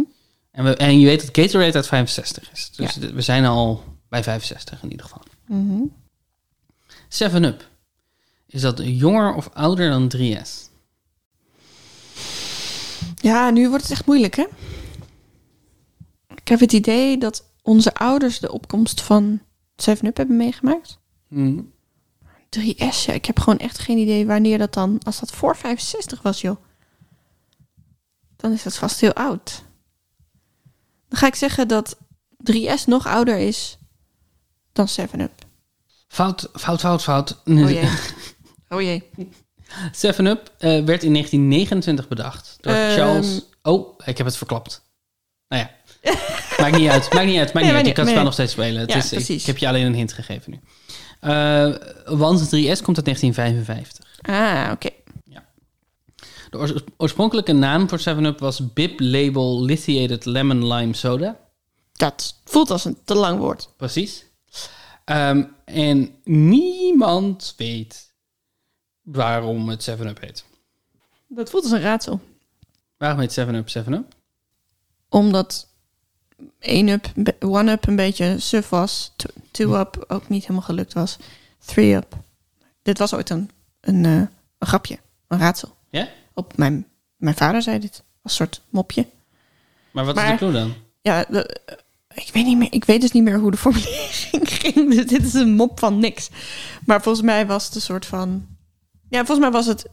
En, we, en je weet dat Gatorade uit 65 is. Dus d- we zijn al bij 65 in ieder geval. Mhm. 7-Up. Is dat jonger of ouder dan 3S? Ja, nu wordt het echt moeilijk, hè? Ik heb het idee dat onze ouders de opkomst van 7-Up hebben meegemaakt. Mhm. Hm. 3S, ja, ik heb gewoon echt geen idee wanneer dat dan... Als dat voor 65 was, joh. Dan is dat vast heel oud. Dan ga ik zeggen dat 3S nog ouder is dan 7-Up. Fout, fout, fout, fout. Oh jee. Oh jee. 7-Up eh, werd in 1929 bedacht door Ehm. Charles... Oh, ik heb het verklapt. Nou ja, maakt niet uit. Maakt niet uit, maakt niet maakt uit. Je niet- kan het nee. spel nog steeds spelen. Het Ja, is, ik, precies. ik heb je alleen een hint gegeven nu. Eh, want 3S komt uit 1955. Ah, oké. De oors- oorspronkelijke naam voor 7-Up was Bib Label Lithiated Lemon Lime Soda. Dat voelt als een te lang woord. Precies. Ehm, en niemand weet waarom het 7-Up heet. Dat voelt als een raadsel. Waarom heet 7-Up 7-Up? Omdat 1-up, 1-up een beetje suf was. 2-up ook niet helemaal gelukt was. 3-up. Dit was ooit een, een, eh, een grapje, een raadsel. Ja? Op mijn, mijn vader zei dit, als soort mopje. Maar wat is Maar- de clue dan? Ja, de- eh, ik, weet niet meer, ik weet dus niet meer hoe de formulering ging. Dus dit is een mop van niks. Maar volgens mij was het een soort van... Ja, volgens mij was het...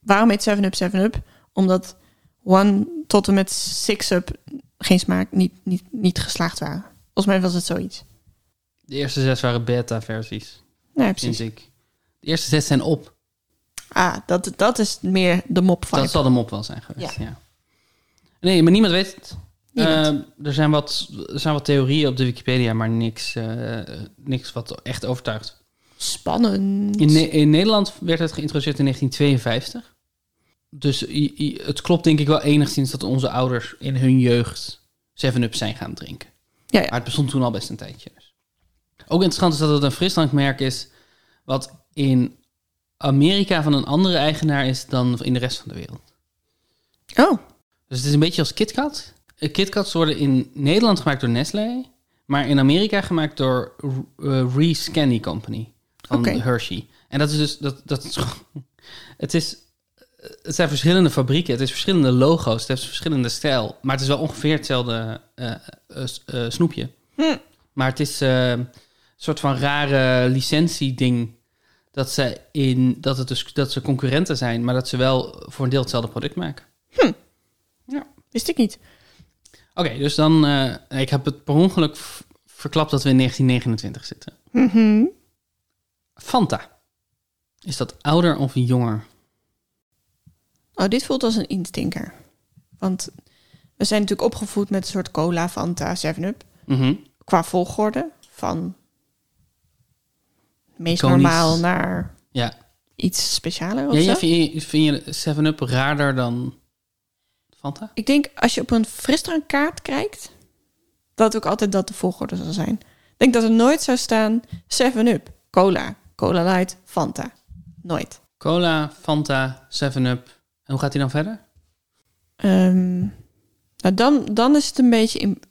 Waarom heet 7-Up 7-Up? Omdat 1 tot en met 6-Up geen smaak, niet, niet, niet geslaagd waren. Volgens mij was het zoiets. De eerste zes waren beta-versies, Nou, ja, vind precies. ik. De eerste zes zijn op. Ah, dat, dat is meer de mop van. Dat zal de mop wel zijn geweest, ja. Nee, maar niemand weet het. Niemand. Ehm, er, zijn wat, er zijn wat theorieën op de Wikipedia, maar niks, eh, niks wat echt overtuigt. Spannend. In, Ne- in Nederland werd het geïntroduceerd in 1952. Dus i- i- het klopt denk ik wel enigszins dat onze ouders in hun jeugd 7-Up zijn gaan drinken. Ja, ja. Maar het bestond toen al best een tijdje. dus. Ook interessant is dat het een frisdrankmerk is wat in Amerika van een andere eigenaar is dan in de rest van de wereld. Oh, Dus het is een beetje als KitKat. Eh, KitKats worden in Nederland gemaakt door Nestlé, maar in Amerika gemaakt door R- eh, Reese Candy Company van Oké. Hershey. En dat is dus dat dat is gewoon- het is eh, het zijn verschillende fabrieken, het is verschillende logo's, het heeft verschillende stijl, maar het is wel ongeveer hetzelfde eh, eh, s- eh, snoepje. Hm. Maar het is eh, een soort van rare licentieding dat ze in dat het dus dat ze concurrenten zijn, maar dat ze wel voor een deel hetzelfde product maken. wist ik niet. Oké, dus dan. eh, ik heb het per ongeluk v- verklapt dat we in 1929 zitten. Mhm. Fanta. Is dat ouder of jonger? Oh, dit voelt als een instinker. Want we zijn natuurlijk opgevoed met een soort cola, Fanta, 7-Up. Mhm. Qua volgorde van meest Iconisch. normaal naar Ja. iets specialer of ja, ja, zo. vind je, vind je 7-Up raarder dan Fanta? Ik denk als je op een frisdrankkaart kijkt, dat ook altijd dat de volgorde zal zijn. Ik denk dat er nooit zou staan 7-Up, cola, cola light, Fanta. Nooit. Cola, Fanta, 7-Up. En hoe gaat hij dan verder? Ehm, nou, dan, dan is het een beetje in,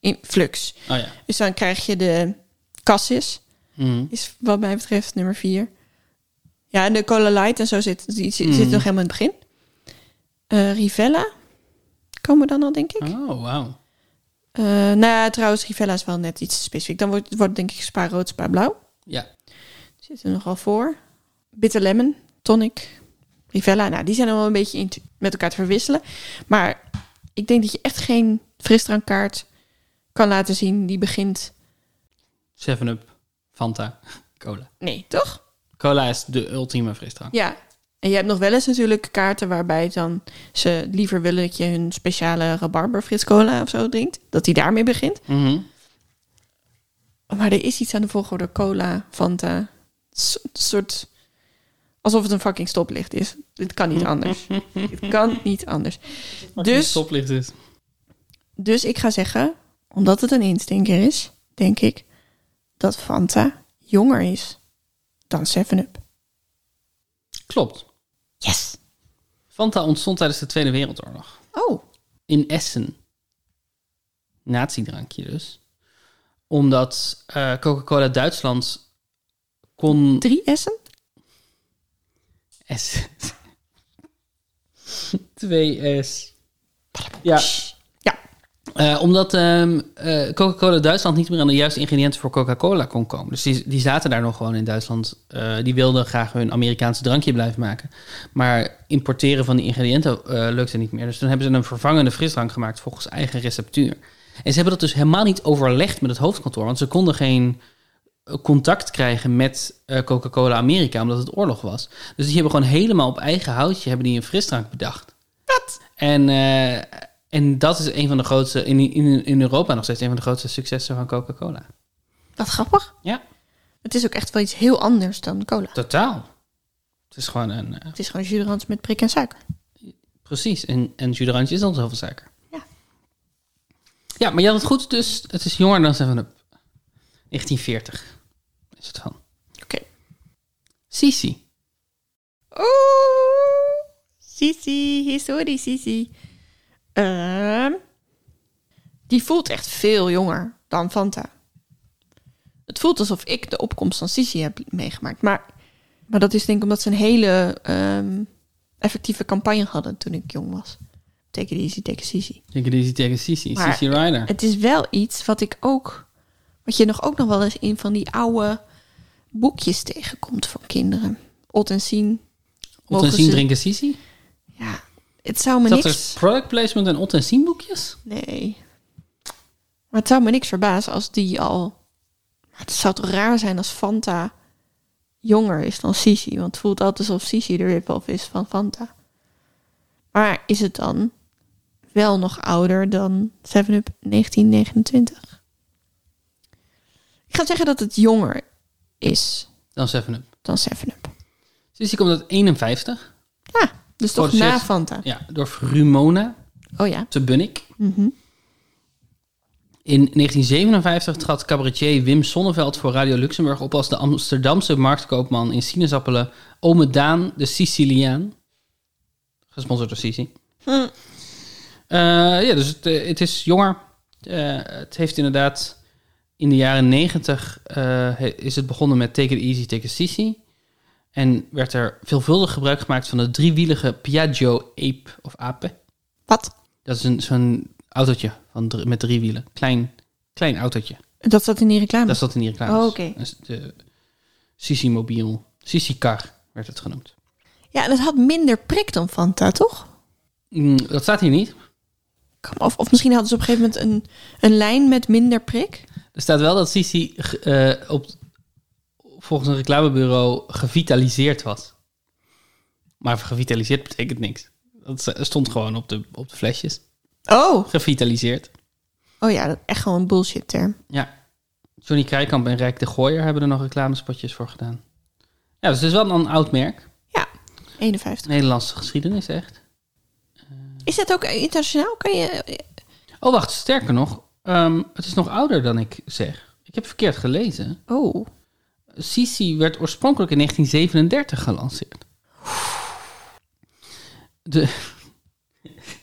in flux. Oh ja. Dus dan krijg je de Cassis. Mhm. is wat mij betreft nummer vier. Ja, en de Cola Light en zo zit, die zit, Mm. zit nog helemaal in het begin. Eh, Rivella komen dan al, denk ik. Oh, wauw. Eh, nou ja, trouwens, Rivella is wel net iets specifiek. Dan wordt, wordt denk ik spa rood, spa blauw. Ja. Zit er nogal voor. Bitter Lemon, Tonic, Rivella. Nou, die zijn dan wel een beetje in- met elkaar te verwisselen. Maar ik denk dat je echt geen frisdrankkaart kan laten zien die begint... 7-Up, Fanta, Cola. Nee, toch? Cola is de ultieme frisdrank. Ja. En je hebt nog wel eens natuurlijk kaarten waarbij dan ze liever willen dat je hun speciale rabarberfris cola of zo drinkt. Dat die daarmee begint. Mhm. Maar er is iets aan de volgorde cola, Fanta. S- soort... Alsof het een fucking stoplicht is. Dit kan niet anders. Dit kan niet anders. Dus- Stoplicht is. Dus ik ga zeggen, omdat het een instinker is, denk ik dat Fanta jonger is dan 7-Up. Klopt. Yes! Fanta ontstond tijdens de Tweede Wereldoorlog. Oh. in Essen. Natiedrankje dus. Omdat eh, Coca-Cola Duitsland kon... Drie S'en? S. 2S. Ja. Ja. Eh, omdat ehm, eh, Coca-Cola Duitsland niet meer aan de juiste ingrediënten voor Coca-Cola kon komen. Dus die, die zaten daar nog gewoon in Duitsland. Eh, die wilden graag hun Amerikaanse drankje blijven maken. Maar importeren van die ingrediënten eh, lukte niet meer. Dus toen hebben ze een vervangende frisdrank gemaakt volgens eigen receptuur. En ze hebben dat dus helemaal niet overlegd met het hoofdkantoor. Want ze konden geen eh, contact krijgen met eh, Coca-Cola Amerika, omdat het oorlog was. Dus die hebben gewoon helemaal op eigen houtje hebben die een frisdrank bedacht. Wat? En, eh, en dat is een van de grootste, in, in, in Europa nog steeds, een van de grootste successen van Coca-Cola. Wat grappig. Ja, Het is ook echt wel iets heel anders dan cola. totaal. Het is gewoon een. eh, Het is gewoon juderans met prik en suiker. precies, en, en Juderantje is al zoveel suiker. Ja. Ja, maar je had het goed, dus het is jonger dan 7 Up. 1940 is het van. Oké. Sisi. Oeh, Oh, Sisi, historie Sisi. Ehm, die voelt echt veel jonger dan Fanta. Het voelt alsof ik de opkomst van Sisi heb meegemaakt. Maar, maar dat is denk ik omdat ze een hele ehm, effectieve campagne hadden toen ik jong was. Take it easy, take Sisi. Ik denk die tegen Sisi. Maar- Sisi Rider. Het is wel iets wat ik ook... Wat je nog ook nog wel eens in van die oude boekjes tegenkomt voor kinderen. Ot en zien. Ot en mogen zien ze- drinken Sisi. Ja, het zou me Dat niks... er product placement en Ot en zien boekjes? Nee. Maar het zou me niks verbazen als die al... Maar het zou toch raar zijn als Fanta jonger is dan Sisi. Want het voelt altijd alsof Sisi de rip-off is van Fanta. Maar is het dan wel nog ouder dan 7-Up 1929? Ik ga zeggen dat het jonger is Dan 7 Up. dan 7-Up. Sisi komt uit 51. Ja, dus toch Geproduceerd. na Fanta. Ja, door Rumona Oh ja. te Bunnik. Mhm. In 1957 trad cabaretier Wim Sonneveld voor Radio Luxemburg op als de Amsterdamse marktkoopman in sinaasappelen Ome Daan de Siciliaan. Gesponsord door Sisi. Hm. Eh, ja, dus het, eh, het is jonger. Eh, het heeft inderdaad in de jaren 90 eh, he- is het begonnen met Take It Easy, Take It Sisi. En werd er veelvuldig gebruik gemaakt van de driewielige Piaggio Ape of Ape. Wat? Dat is een, zo'n autootje van dr- met drie wielen. Klein, klein autootje. Dat zat in die reclame. Dat zat in die reclame. Oh, oké. De Sisi Mobiel. Sisi Car werd het genoemd. Ja, en het had minder prik dan Fanta, toch? Mm, dat staat hier niet. Kom, Of, of misschien hadden ze op een gegeven moment een, een lijn met minder prik. Er staat wel dat Sisi ge- eh, op, volgens een reclamebureau gevitaliseerd was. Maar gevitaliseerd betekent niks. Dat sta- stond gewoon op de, op de flesjes. Oh. Gevitaliseerd. Oh ja, dat is echt gewoon een bullshit term. Ja. Johnny Krijkamp en Rijk de Gooier hebben er nog reclamespotjes voor gedaan. Ja, dus het is wel een oud merk. Ja, 51. Nederlandse geschiedenis, echt. Is dat ook internationaal? Kan je... Oh, wacht, sterker nog. ehm, het is nog ouder dan ik zeg. Ik heb verkeerd gelezen. Oh. Sisi werd oorspronkelijk in 1937 gelanceerd. De,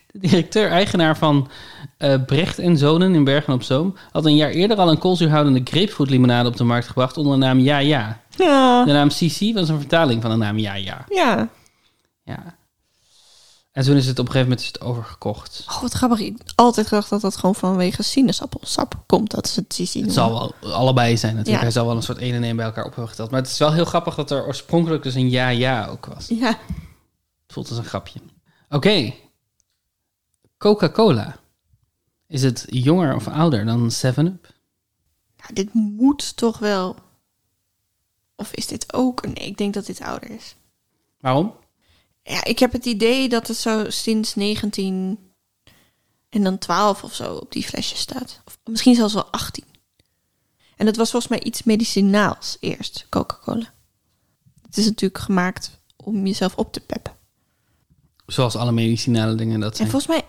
de directeur-eigenaar van eh, Brecht en Zonen in Bergen op Zoom... had een jaar eerder al een koolzuurhoudende grapefruitlimonade op de markt gebracht onder de naam Ja Ja. Ja. De naam Sisi was een vertaling van de naam Ja Ja. Ja. ja. En toen is het op een gegeven moment is het overgekocht. Oh, wat grappig. Ik had altijd gedacht dat dat gewoon vanwege sinaasappelsap komt. Dat ze het Sisi Het noemen. zal wel allebei zijn natuurlijk. Ja. Hij zal wel een soort 1 en 1 bij elkaar op hebben geteld. Maar het is wel heel grappig dat er oorspronkelijk dus een ja-ja ook was. Ja. Het voelt als een grapje. Oké. Coca-Cola. Is het jonger of ouder dan 7-Up? Nou, dit moet toch wel... Of is dit ook... Nee, ik denk dat dit ouder is. Waarom? Ja, ik heb het idee dat het zo sinds 19 en dan 12 of zo op die flesjes staat. Of misschien zelfs wel 18. En dat was volgens mij iets medicinaals eerst, Coca-Cola. Het is natuurlijk gemaakt om jezelf op te peppen. Zoals alle medicinale dingen dat En zijn. volgens mij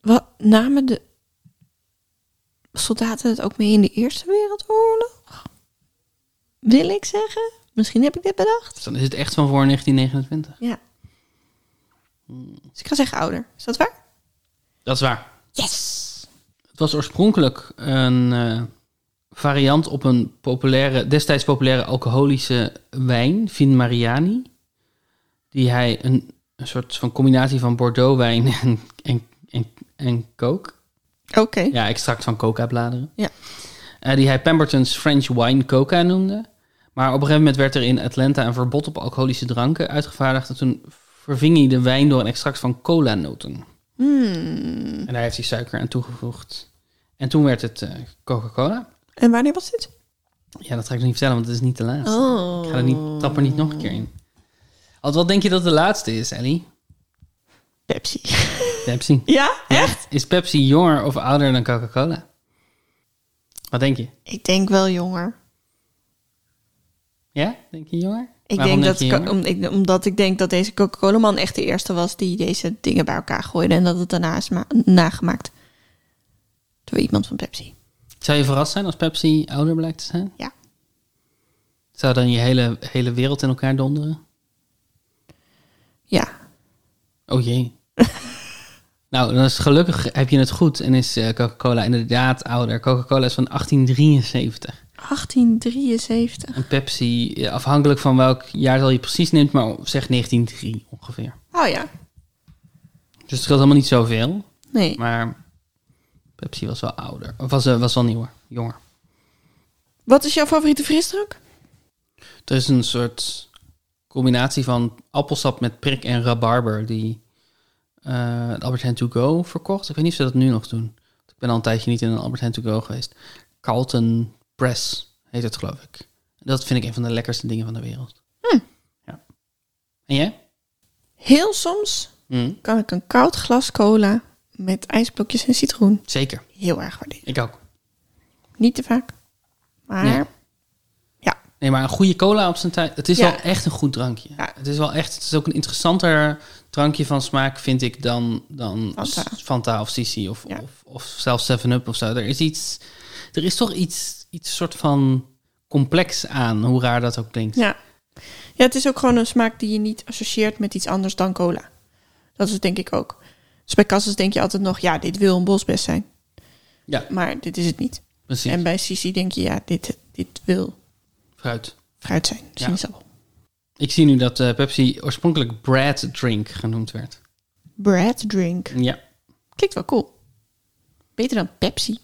wat, namen de soldaten het ook mee in de Eerste Wereldoorlog? Wil ik zeggen? Misschien heb ik dit bedacht. Dus dan is het echt van voor 1929. Ja. Dus ik ga zeggen ouder. Is dat waar? Dat is waar. Yes! Het was oorspronkelijk een eh, variant op een populaire, destijds populaire alcoholische wijn, Vin Mariani. Die hij een, een soort van combinatie van Bordeaux wijn en, en, en, en coke Oké. Ja, extract van coca-bladeren. Ja. Eh, die hij Pemberton's French wine coca noemde. Maar op een gegeven moment werd er in Atlanta een verbod op alcoholische dranken uitgevaardigd. En toen verving hij de wijn door een extract van cola-noten. Hmm. En daar heeft hij suiker aan toegevoegd. En toen werd het eh, Coca-Cola. En wanneer was dit? Ja, dat ga ik nog niet vertellen, want het is niet de laatste. Oh. Ik ga er niet, trap er niet nog een keer in. Althans, wat denk je dat de laatste is, Ellie? Pepsi. Pepsi. ja? Echt? Is Pepsi jonger of ouder dan Coca-Cola? Wat denk je? Ik denk wel jonger. Ja? Denk je jonger? Ik Waarom denk dat, je ik- jonger? om, ik- omdat ik denk dat deze Coca-Cola-man echt de eerste was die deze dingen bij elkaar gooide. En dat het daarna is ma- nagemaakt door iemand van Pepsi. Zou je verrast zijn als Pepsi ouder blijkt te zijn? Ja. Zou dan je hele, hele wereld in elkaar donderen? Ja. Oh jee. nou, dan is het gelukkig heb je het goed en is eh, Coca-Cola inderdaad ouder. Coca-Cola is van 1873. 1873. En Pepsi, eh, afhankelijk van welk jaartal je precies neemt, maar zeg 1903 ongeveer. Oh ja. Dus het scheelt helemaal niet zoveel. Nee. Maar Pepsi was wel ouder. Of was, eh, was wel nieuwer, jonger. Wat is jouw favoriete frisdruk? Er is een soort combinatie van appelsap met prik en rabarber die eh, de Albert Heijn To Go verkocht. Ik weet niet of ze dat nu nog doen. Ik ben al een tijdje niet in een Albert Heijn To Go geweest. Carlton Press heet het, geloof ik. Dat vind ik een van de lekkerste dingen van de wereld. Ja. En jij? Hm. Heel soms kan ik een koud glas cola met ijsblokjes en citroen Zeker. heel erg waarderen. Ik ook. Niet te vaak. Maar Nee. ja. Nee, maar een goede cola op zijn tijd. Het is Ja. wel echt een goed drankje. Ja. Het is wel echt. Het is ook een interessanter drankje van smaak, vind ik, dan, dan Fanta. S- Fanta of Sisi of, Ja. of, of zelfs 7-Up of zo. Er is iets. Er is toch iets, iets soort van complex aan, hoe raar dat ook klinkt. ja. Ja, het is ook gewoon een smaak die je niet associeert met iets anders dan cola. Dat is het denk ik ook. Dus bij Cassis denk je altijd nog, ja, dit wil een bosbest zijn. Ja. Maar dit is het niet. Precies. En bij Sisi denk je, ja, dit, dit wil Fruit. fruit zijn. Ja. Sinaasappel. Ik zie nu dat eh, Pepsi oorspronkelijk Brad Drink genoemd werd. Bread drink. Ja. Klinkt wel cool. Beter dan Pepsi.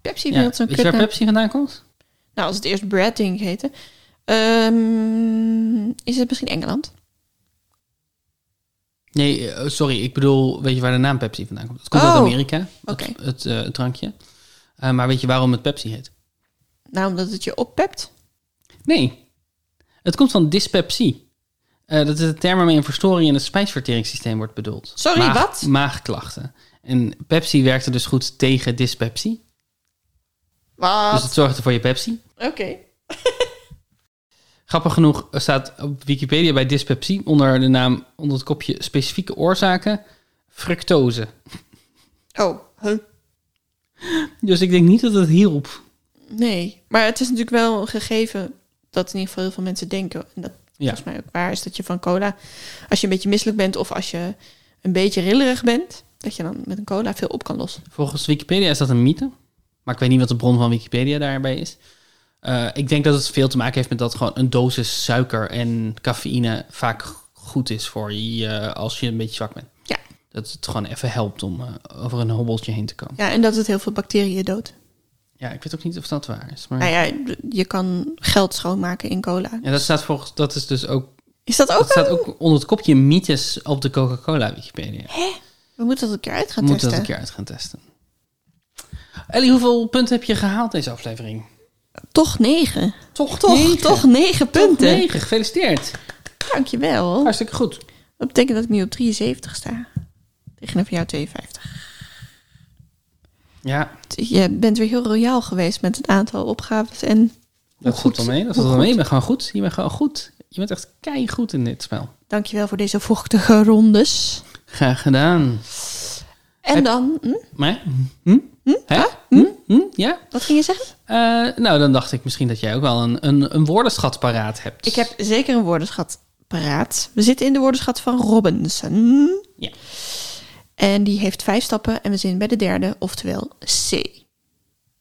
Pepsi ja. wil Weet zo'n je waar kutnaam. Pepsi vandaan komt? Nou, als het eerst Brad Drink heette. Ehm, is het misschien Engeland? Nee, eh, sorry, ik bedoel, weet je waar de naam Pepsi vandaan komt? Het komt uit Oh, Amerika, oké. het, het, eh, het drankje. Eh, maar weet je waarom het Pepsi heet? Nou, omdat het je oppept. Nee, het komt van dyspepsie. Eh, dat is een term waarmee een verstoring in het spijsverteringssysteem wordt bedoeld. Sorry, wat? Maagklachten. En Pepsi werkte dus goed tegen dyspepsie. Wat? Dus het zorgde voor je Pepsi. Oké. Grappig genoeg staat op Wikipedia bij dyspepsie onder de naam, onder het kopje specifieke oorzaken, fructose. Oh, huh? Dus ik denk niet dat het hielp. Nee. Maar het is natuurlijk wel een gegeven dat in ieder geval heel veel mensen denken. En dat Ja. volgens mij ook waar is dat je van cola... Als je een beetje misselijk bent of als je een beetje rillerig bent... dat je dan met een cola veel op kan lossen. Volgens Wikipedia is dat een mythe. Maar ik weet niet wat de bron van Wikipedia daarbij is. Eh, ik denk dat het veel te maken heeft met dat gewoon een dosis suiker en cafeïne vaak goed is voor je eh, als je een beetje zwak bent. Ja. Dat het gewoon even helpt om eh, over een hobbeltje heen te komen. Ja, en dat het heel veel bacteriën doodt. Ja, ik weet ook niet of dat waar is. Maar Nou ja, je kan geld schoonmaken in cola. ja, dat staat volgens dat is dus ook. Is dat ook Dat staat een- ook onder het kopje mythes op de Coca-Cola Wikipedia. We moeten dat een keer uit We gaan moeten testen. dat een keer uit gaan testen. Ellie, hoeveel punten heb je gehaald deze aflevering? Toch negen. Toch, Toch, toch negen punten. Toch negen, gefeliciteerd. Dankjewel. Hartstikke goed. Dat betekent dat ik nu op 73 sta. Tegenover jou 52. Ja, Je bent weer heel royaal geweest met het aantal opgaves en... dat Hoe goed goed. wel mee. Dat Hoe valt goed. wel mee. Je bent gewoon goed. Je bent gewoon goed. Je bent echt keigoed in dit spel. Dankjewel voor deze vochtige rondes. Graag gedaan. En Heb- dan... Hm? Maar, hm? Hè? Hm? Hm? Ja? Wat ging je zeggen? Eh, nou, dan dacht ik misschien dat jij ook wel een, een, een woordenschat paraat hebt. Ik heb zeker een woordenschat paraat. We zitten in de woordenschat van Robinson. Ja. En die heeft vijf stappen en we zijn bij de derde, oftewel C.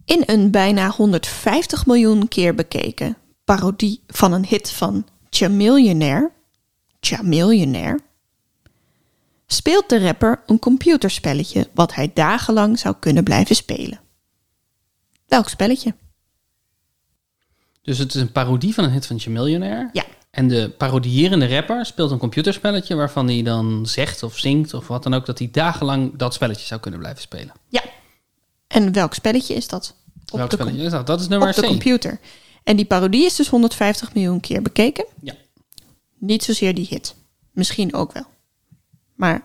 In een bijna 150 miljoen keer bekeken parodie van een hit van Chamillionaire, Chamillionaire, speelt de rapper een computerspelletje wat hij dagenlang zou kunnen blijven spelen. Welk spelletje? Dus het is een parodie van een hit van Chamillionaire. Ja. En de parodieerende rapper speelt een computerspelletje waarvan hij dan zegt of zingt of wat dan ook dat hij dagenlang dat spelletje zou kunnen blijven spelen. Ja. En welk spelletje is dat? Op Welk de com- spelletje is dat? Dat is nummer op de 1. computer. En die parodie is dus 150 miljoen keer bekeken. Ja. Niet zozeer die hit. Misschien ook wel. Maar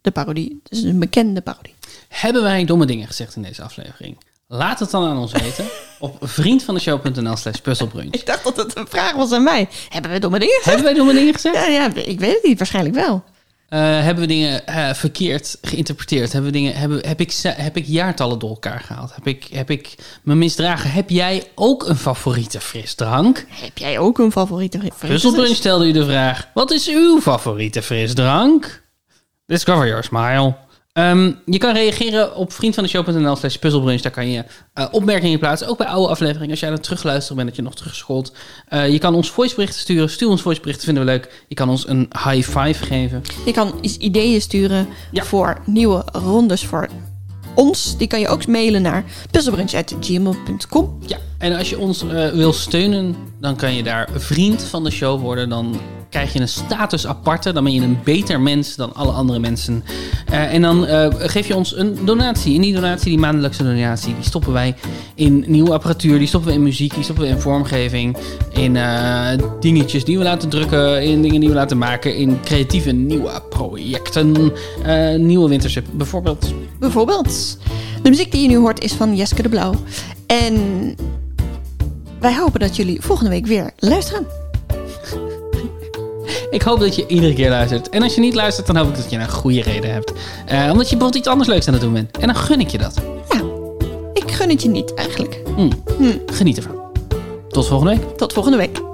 de parodie. Het is een bekende parodie. Hebben wij domme dingen gezegd in deze aflevering? Laat het dan aan ons weten op vriendvandeshow.nl slash puzzelbrunch. Ik dacht dat het een vraag was aan mij. Hebben we domme dingen gezegd? Hebben wij domme dingen gezegd? Ja, ja, ik weet het niet. Waarschijnlijk wel. Eh, hebben we dingen eh, verkeerd geïnterpreteerd? Hebben we dingen, hebben, heb, ik, ze- heb ik jaartallen door elkaar gehaald? Heb ik, heb ik me misdragen? Heb jij ook een favoriete frisdrank? Heb jij ook een favoriete Puzzelbrunch stelde u de vraag: wat is uw favoriete frisdrank? Discover your smile. Ehm, je kan reageren op vriendvandeshow.nl slash puzzelbrunch. Daar kan je eh, opmerkingen plaatsen. Ook bij oude afleveringen. Als jij aan het terugluisteren bent, dat je nog teruggescrollt. Eh, je kan ons voiceberichten sturen. Stuur ons voiceberichten, vinden we leuk. Je kan ons een high five geven. Je kan eens ideeën sturen Ja. voor nieuwe rondes voor ons. Die kan je ook mailen naar puzzelbrunch.gmail.com. Ja, en als je ons eh, wil steunen, dan kan je daar vriend van de show worden. Dan krijg je een status aparte. Dan ben je een beter mens dan alle andere mensen. Eh, en dan eh, geef je ons een donatie. En die donatie, die maandelijkse donatie, die stoppen wij in nieuwe apparatuur. Die stoppen we in muziek, die stoppen we in vormgeving. In eh, dingetjes die we laten drukken. In dingen die we laten maken. In creatieve nieuwe projecten. Eh, nieuwe wintersup bijvoorbeeld. Bijvoorbeeld. De muziek die je nu hoort is van Jeske de Blauw. En wij hopen dat jullie volgende week weer luisteren. Ik hoop dat je iedere keer luistert. En als je niet luistert, dan hoop ik dat je een goede reden hebt. Eh, omdat je bijvoorbeeld iets anders leuks aan het doen bent. En dan gun ik je dat. Ja, ik Nou, gun het je niet eigenlijk. Hm. Geniet ervan. Tot volgende week. Tot volgende week.